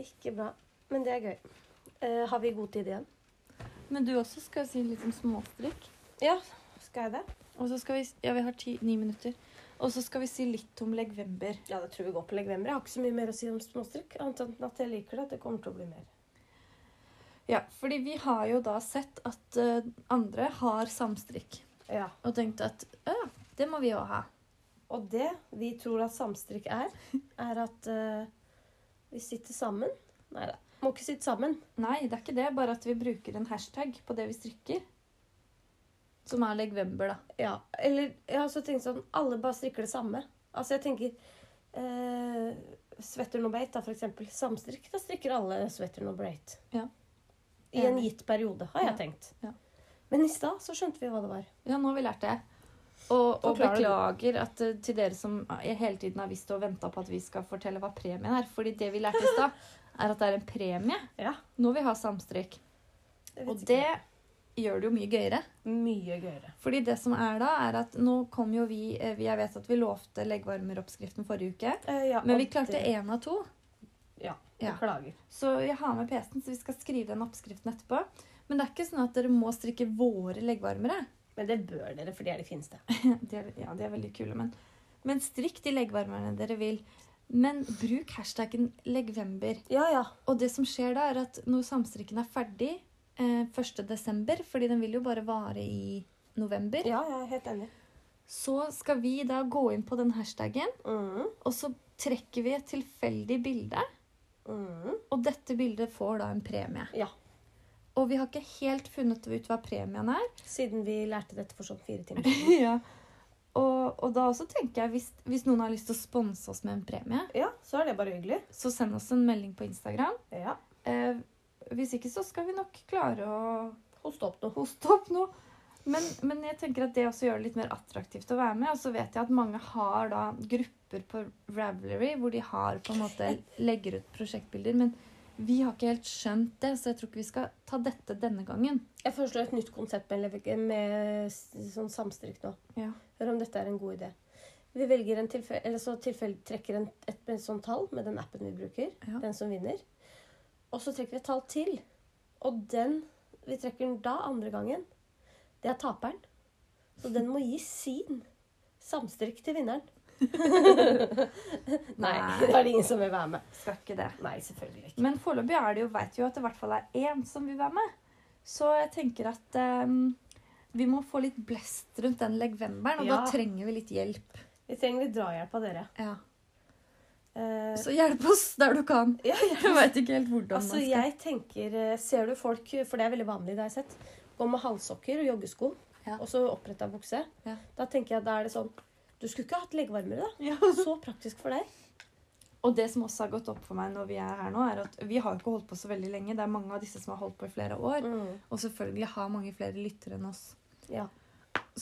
Ikke bra. Men det er gøy. Eh, har vi god tid igjen?
Men du også skal si litt om småstrikk.
Ja, skal jeg det?
Og så skal vi Ja, vi har ti, ni minutter. Og så skal vi si litt om legvember.
Ja, det tror vi går på legvember. Jeg har ikke så mye mer å si om småstrikk, annet enn at jeg liker det. Det kommer til å bli mer.
Ja, fordi vi har jo da sett at eh, andre har samstrikk.
Ja.
Og tenkt at ja, det må vi jo ha.
Og det vi tror at samstrikk er, er at eh, vi sitter sammen. Nei da. Må ikke sitte sammen.
Nei, det er ikke det. Bare at vi bruker en hashtag på det vi strikker. Som er legvember, da.
Ja, eller jeg har også tenkt sånn Alle bare strikker det samme. Altså jeg tenker eh, Sweater number eight, da, for eksempel. Samstrikk. Da strikker alle sweater number eight.
Ja.
I en
Enig.
gitt periode, har jeg
Ja.
tenkt.
Ja.
Men i stad så skjønte vi hva det var.
Ja, nå har vi lært det. Og, og
Forklar det.
beklager at, eh, til dere som hele tiden har visst og venta på at vi skal fortelle hva premien er. Fordi det vi lærte i stad, er at det er en premie
Ja.
når vi har samstrikk.
Jeg vet
Og
ikke.
det gjør det jo mye gøyere.
Mye gøyere.
Fordi det som er da, er at nå kom jo vi eh, Jeg vet at vi lovte leggvarmeroppskriften forrige uke,
Eh, ja,
men
og
vi klarte
det-
én av to.
Ja.
Ja.
Beklager.
Så jeg har med PC-en, så vi skal skrive den oppskriften etterpå. Men det er ikke sånn at dere må strikke våre leggvarmere.
Men det bør dere, for de er de fineste.
De er, ja, de er veldig kule, men, men strikk de leggvarmerne dere vil. Men bruk hashtaggen leggvember.
Ja, ja.
Og det som skjer da, er at når samstrikken er ferdig eh, 1.12., fordi den vil jo bare vare i november,
Ja, jeg er helt enig.
så skal vi da gå inn på den hashtaggen.
Mm,
Og så trekker vi et tilfeldig bilde,
mm.
og dette bildet får da en premie.
Ja.
Og vi har ikke helt funnet ut hva premien er.
Siden vi lærte dette for sånn fire timer.
Og, og da også tenker jeg, hvis, hvis noen har lyst til å sponse oss med en premie,
Ja, så er det bare hyggelig.
så send oss en melding på Instagram.
Ja.
Eh, hvis ikke så skal vi nok klare å
Hoste opp noe.
hoste opp noe. Men, men jeg tenker at det også gjør det litt mer attraktivt å være med. Og så vet jeg at mange har da grupper på Ravelry hvor de har på en måte legger ut prosjektbilder. Men vi har ikke helt skjønt det, så jeg tror ikke vi skal ta dette denne gangen.
Jeg foreslår et nytt konsept med, lev- med s- sånn samstrikk nå.
Ja.
Hør om dette er en god idé. Vi velger en tilfell, eller så tilfell, trekker en, et, et sånt tall med den appen vi bruker.
Ja.
Den som vinner. Og så trekker vi et tall til. Og den vi trekker den da andre gangen, det er taperen. Så den må gi sin samstrikk til vinneren. Nei,
Nei.
da er det ingen som vil være med.
Skal ikke det.
Nei, selvfølgelig ikke.
Men foreløpig er det jo, vet vi jo at det i hvert fall er én som vil være med. Så jeg tenker at eh, vi må få litt blest rundt den legvemberen, og
Ja.
da trenger vi litt hjelp.
Vi trenger litt drahjelp av dere.
Ja.
Eh,
Så hjelp oss der du kan.
ja, ja.
Jeg veit ikke helt hvordan
Altså, jeg tenker eh, Ser du folk, for det er veldig vanlig, det har jeg sett, gå med halvsokker og joggesko,
Ja.
og så oppretta bukse.
Ja.
Da tenker jeg da er det sånn Du skulle ikke hatt leggevarmere, da.
Ja.
Så praktisk for deg.
Og det som også har gått opp for meg når vi er her nå, er at vi har jo ikke holdt på så veldig lenge. Det er mange av disse som har holdt på i flere år. Og selvfølgelig har mange flere lyttere enn oss.
Mm. Ja.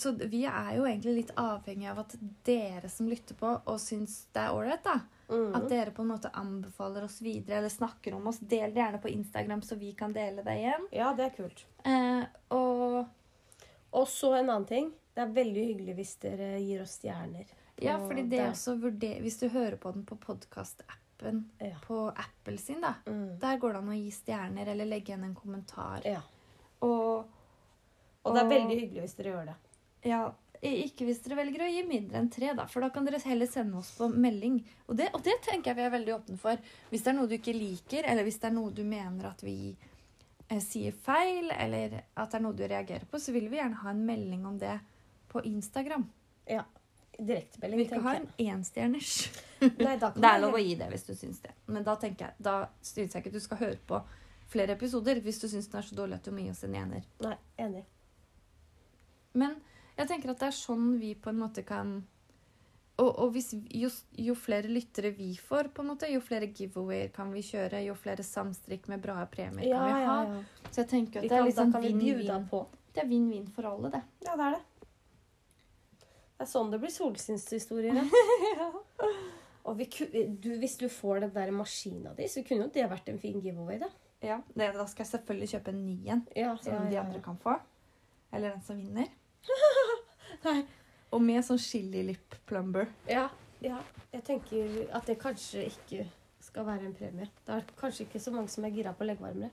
Så d- vi er jo egentlig litt avhengig av at dere som lytter på og syns det er ålreit, da.
Mhm.
At
Mm.
dere på en måte anbefaler oss videre eller snakker om oss. Del det gjerne på Instagram, så vi kan dele det igjen.
ja, det er kult.
Eh, og
Og så en annen ting. Det er veldig hyggelig hvis dere gir oss stjerner.
Ja,
på
fordi det
der.
også vurder... Hvis du hører på den på podkastappen
Ja.
på Apple sin, da.
Mm.
Der går det an å gi stjerner eller legge igjen en kommentar.
Ja.
Og,
Og det er
og-
veldig hyggelig hvis dere gjør det.
ja, ikke hvis dere velger å gi mindre enn tre, da, for da kan dere heller sende oss på melding. Og det, og det tenker jeg vi er veldig åpne for. Hvis det er noe du ikke liker, eller hvis det er noe du mener at vi eh, sier feil, eller at det er noe du reagerer på, så vil vi gjerne ha en melding om det på Instagram. Vi
Direktemelding,
vil ikke ha
tenker
en
jeg.
enstjerners.
Nei, da kan
Det er lov å
jeg-
gi det hvis du syns det. Men da tenker jeg, da syns jeg ikke du skal høre på flere episoder hvis du syns den er så dårlig at du må gi oss en ener.
Nei, enig.
Men jeg tenker at det er sånn vi på en måte kan Og, og hvis, jo, jo flere lyttere vi får, på en måte, jo flere giveawayer kan vi kjøre, jo flere samstrikk med bra premier
Ja,
kan vi ha.
ja, ja.
Så jeg tenker
Vi
at det er
kan,
litt
da
sånn
kan vi bjuda
vinn-vinn.
på.
Det er vinn-vinn for alle, det.
Ja, det er det. Det er sånn det blir solskinnshistorier. ja. Og vi, ku- du, hvis du får den der maskina di, så kunne jo det vært en fin giveaway, da.
Ja, det, Da skal jeg selvfølgelig kjøpe en ny en,
Ja,
som de andre kan få. Eller den som vinner.
Nei.
Og med sånn chili lip plumber.
Ja, ja. Jeg tenker at det kanskje ikke skal være en premie. Det er kanskje ikke så mange som er gira på leggvarmere.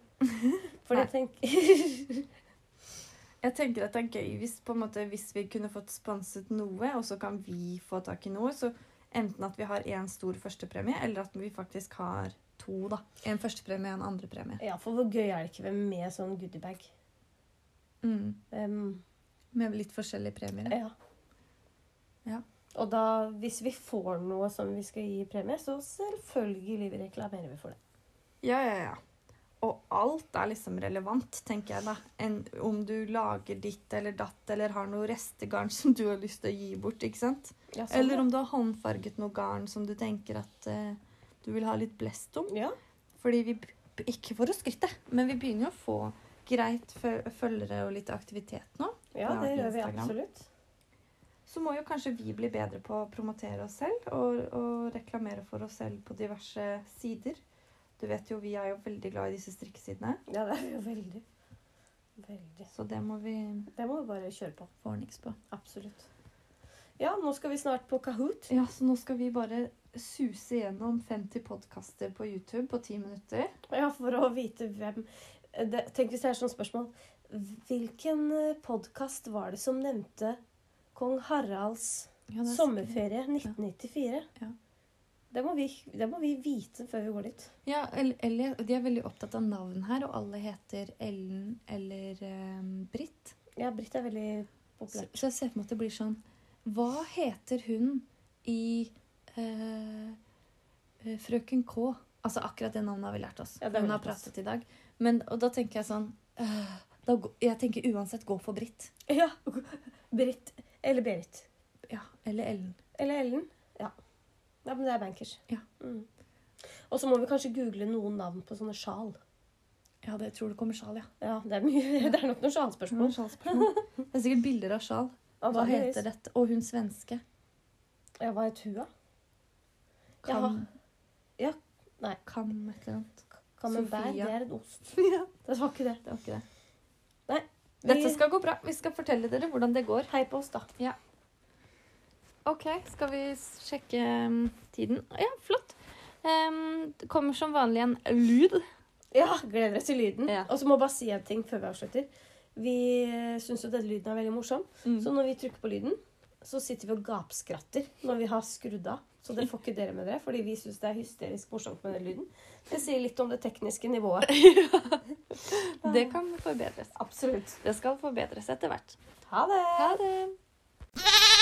For jeg tenker
Jeg tenker at det er gøy hvis, på en måte, hvis vi kunne fått sponset noe, og så kan vi få tak i noe. Så enten at vi har én stor førstepremie, eller at vi faktisk har to. da. En førstepremie og en andrepremie.
Ja, for hvor gøy er det ikke med sånn goodiebag?
Mm.
Um,
Med litt forskjellige premier.
ja.
Ja.
Og da, hvis vi får noe som vi skal gi i premie, så selvfølgelig vi reklamerer vi for det.
Ja, ja, ja. Og alt er liksom relevant, tenker jeg da. En, om du lager ditt eller datt, eller har noe restegarn som du har lyst til å gi bort. ikke sant?
Ja, sånn,
Eller
ja.
om du har håndfarget noe garn som du tenker at eh, du vil ha litt blest om.
Ja.
Fordi vi, b- ikke for å skrytte, men vi begynner jo å få greit fø- følgere og litt aktivitet nå.
Ja,
Ja,
det gjør vi
Instagram.
absolutt.
Så må jo kanskje vi bli bedre på å promotere oss selv og, og reklamere for oss selv på diverse sider. Du vet jo, vi er jo veldig glad i disse strikkesidene,
Ja, det er jo veldig. Veldig.
så det må vi
Det må vi bare kjøre på.
få ordnings på.
Absolutt. Ja, nå skal vi snart på Kahoot.
Ja, så nå skal vi bare suse gjennom 50 podkaster på YouTube på 10 minutter.
Ja, for å vite hvem det, Tenk hvis det er sånn spørsmål. Hvilken podkast var det som nevnte kong Haralds sommerferie 1994?
Ja.
Det må, vi, det må vi vite før vi går dit.
Ja, El- eller, De er veldig opptatt av navn her, og alle heter Ellen eller eh, Britt.
Ja, Britt er veldig
Så,
populær.
så jeg ser for meg at det blir sånn Hva heter hun i eh, eh, Frøken K? Altså akkurat det navnet har vi lært oss.
Ja, det har vi
hun har
lært oss.
pratet i dag. Men, og da tenker jeg sånn eh, da, gå- Jeg tenker uansett gå for Britt.
Ja. Britt eller Berit.
Ja, Eller Ellen.
Eller Ellen. Ja. ja men det er bankers.
Ja.
Mm. Og så må vi kanskje google noen navn på sånne sjal.
Ja, det tror du kommer sjal, ja.
Ja, Mm. Det er, mye, det er nok noen
Det var
sjalspørsmål.
en sjalspørsmål. Det er sikkert bilder av sjal. Hva heter dette? Og hun svenske.
Ja, hva het hun, da?
Kam,
Ja. Ja, nei.
Kam et eller annet.
Camembert,
Sofia.
det er en ost.
Ja,
Det var ikke det.
det var ikke det.
Vi-
Dette skal gå bra. Vi skal fortelle dere hvordan det går.
Hei på oss, da.
Ok, skal vi s- sjekke um, tiden? Ja, flott. Em, det kommer som vanlig en lyd.
Ja, gleder oss til lyden.
Ja.
Og så må jeg bare si en ting før vi avslutter. Vi syns jo denne lyden er veldig morsom, så når vi trykker på lyden, så sitter vi og gapskratter når vi har skrudd av. Så det får ikke dere med dere, fordi vi syns det er hysterisk morsomt med den lyden. Det sier litt om det tekniske nivået.
Det kan forbedres.
Absolutt.
Det skal forbedres etter hvert.
Ha det!
Ha det!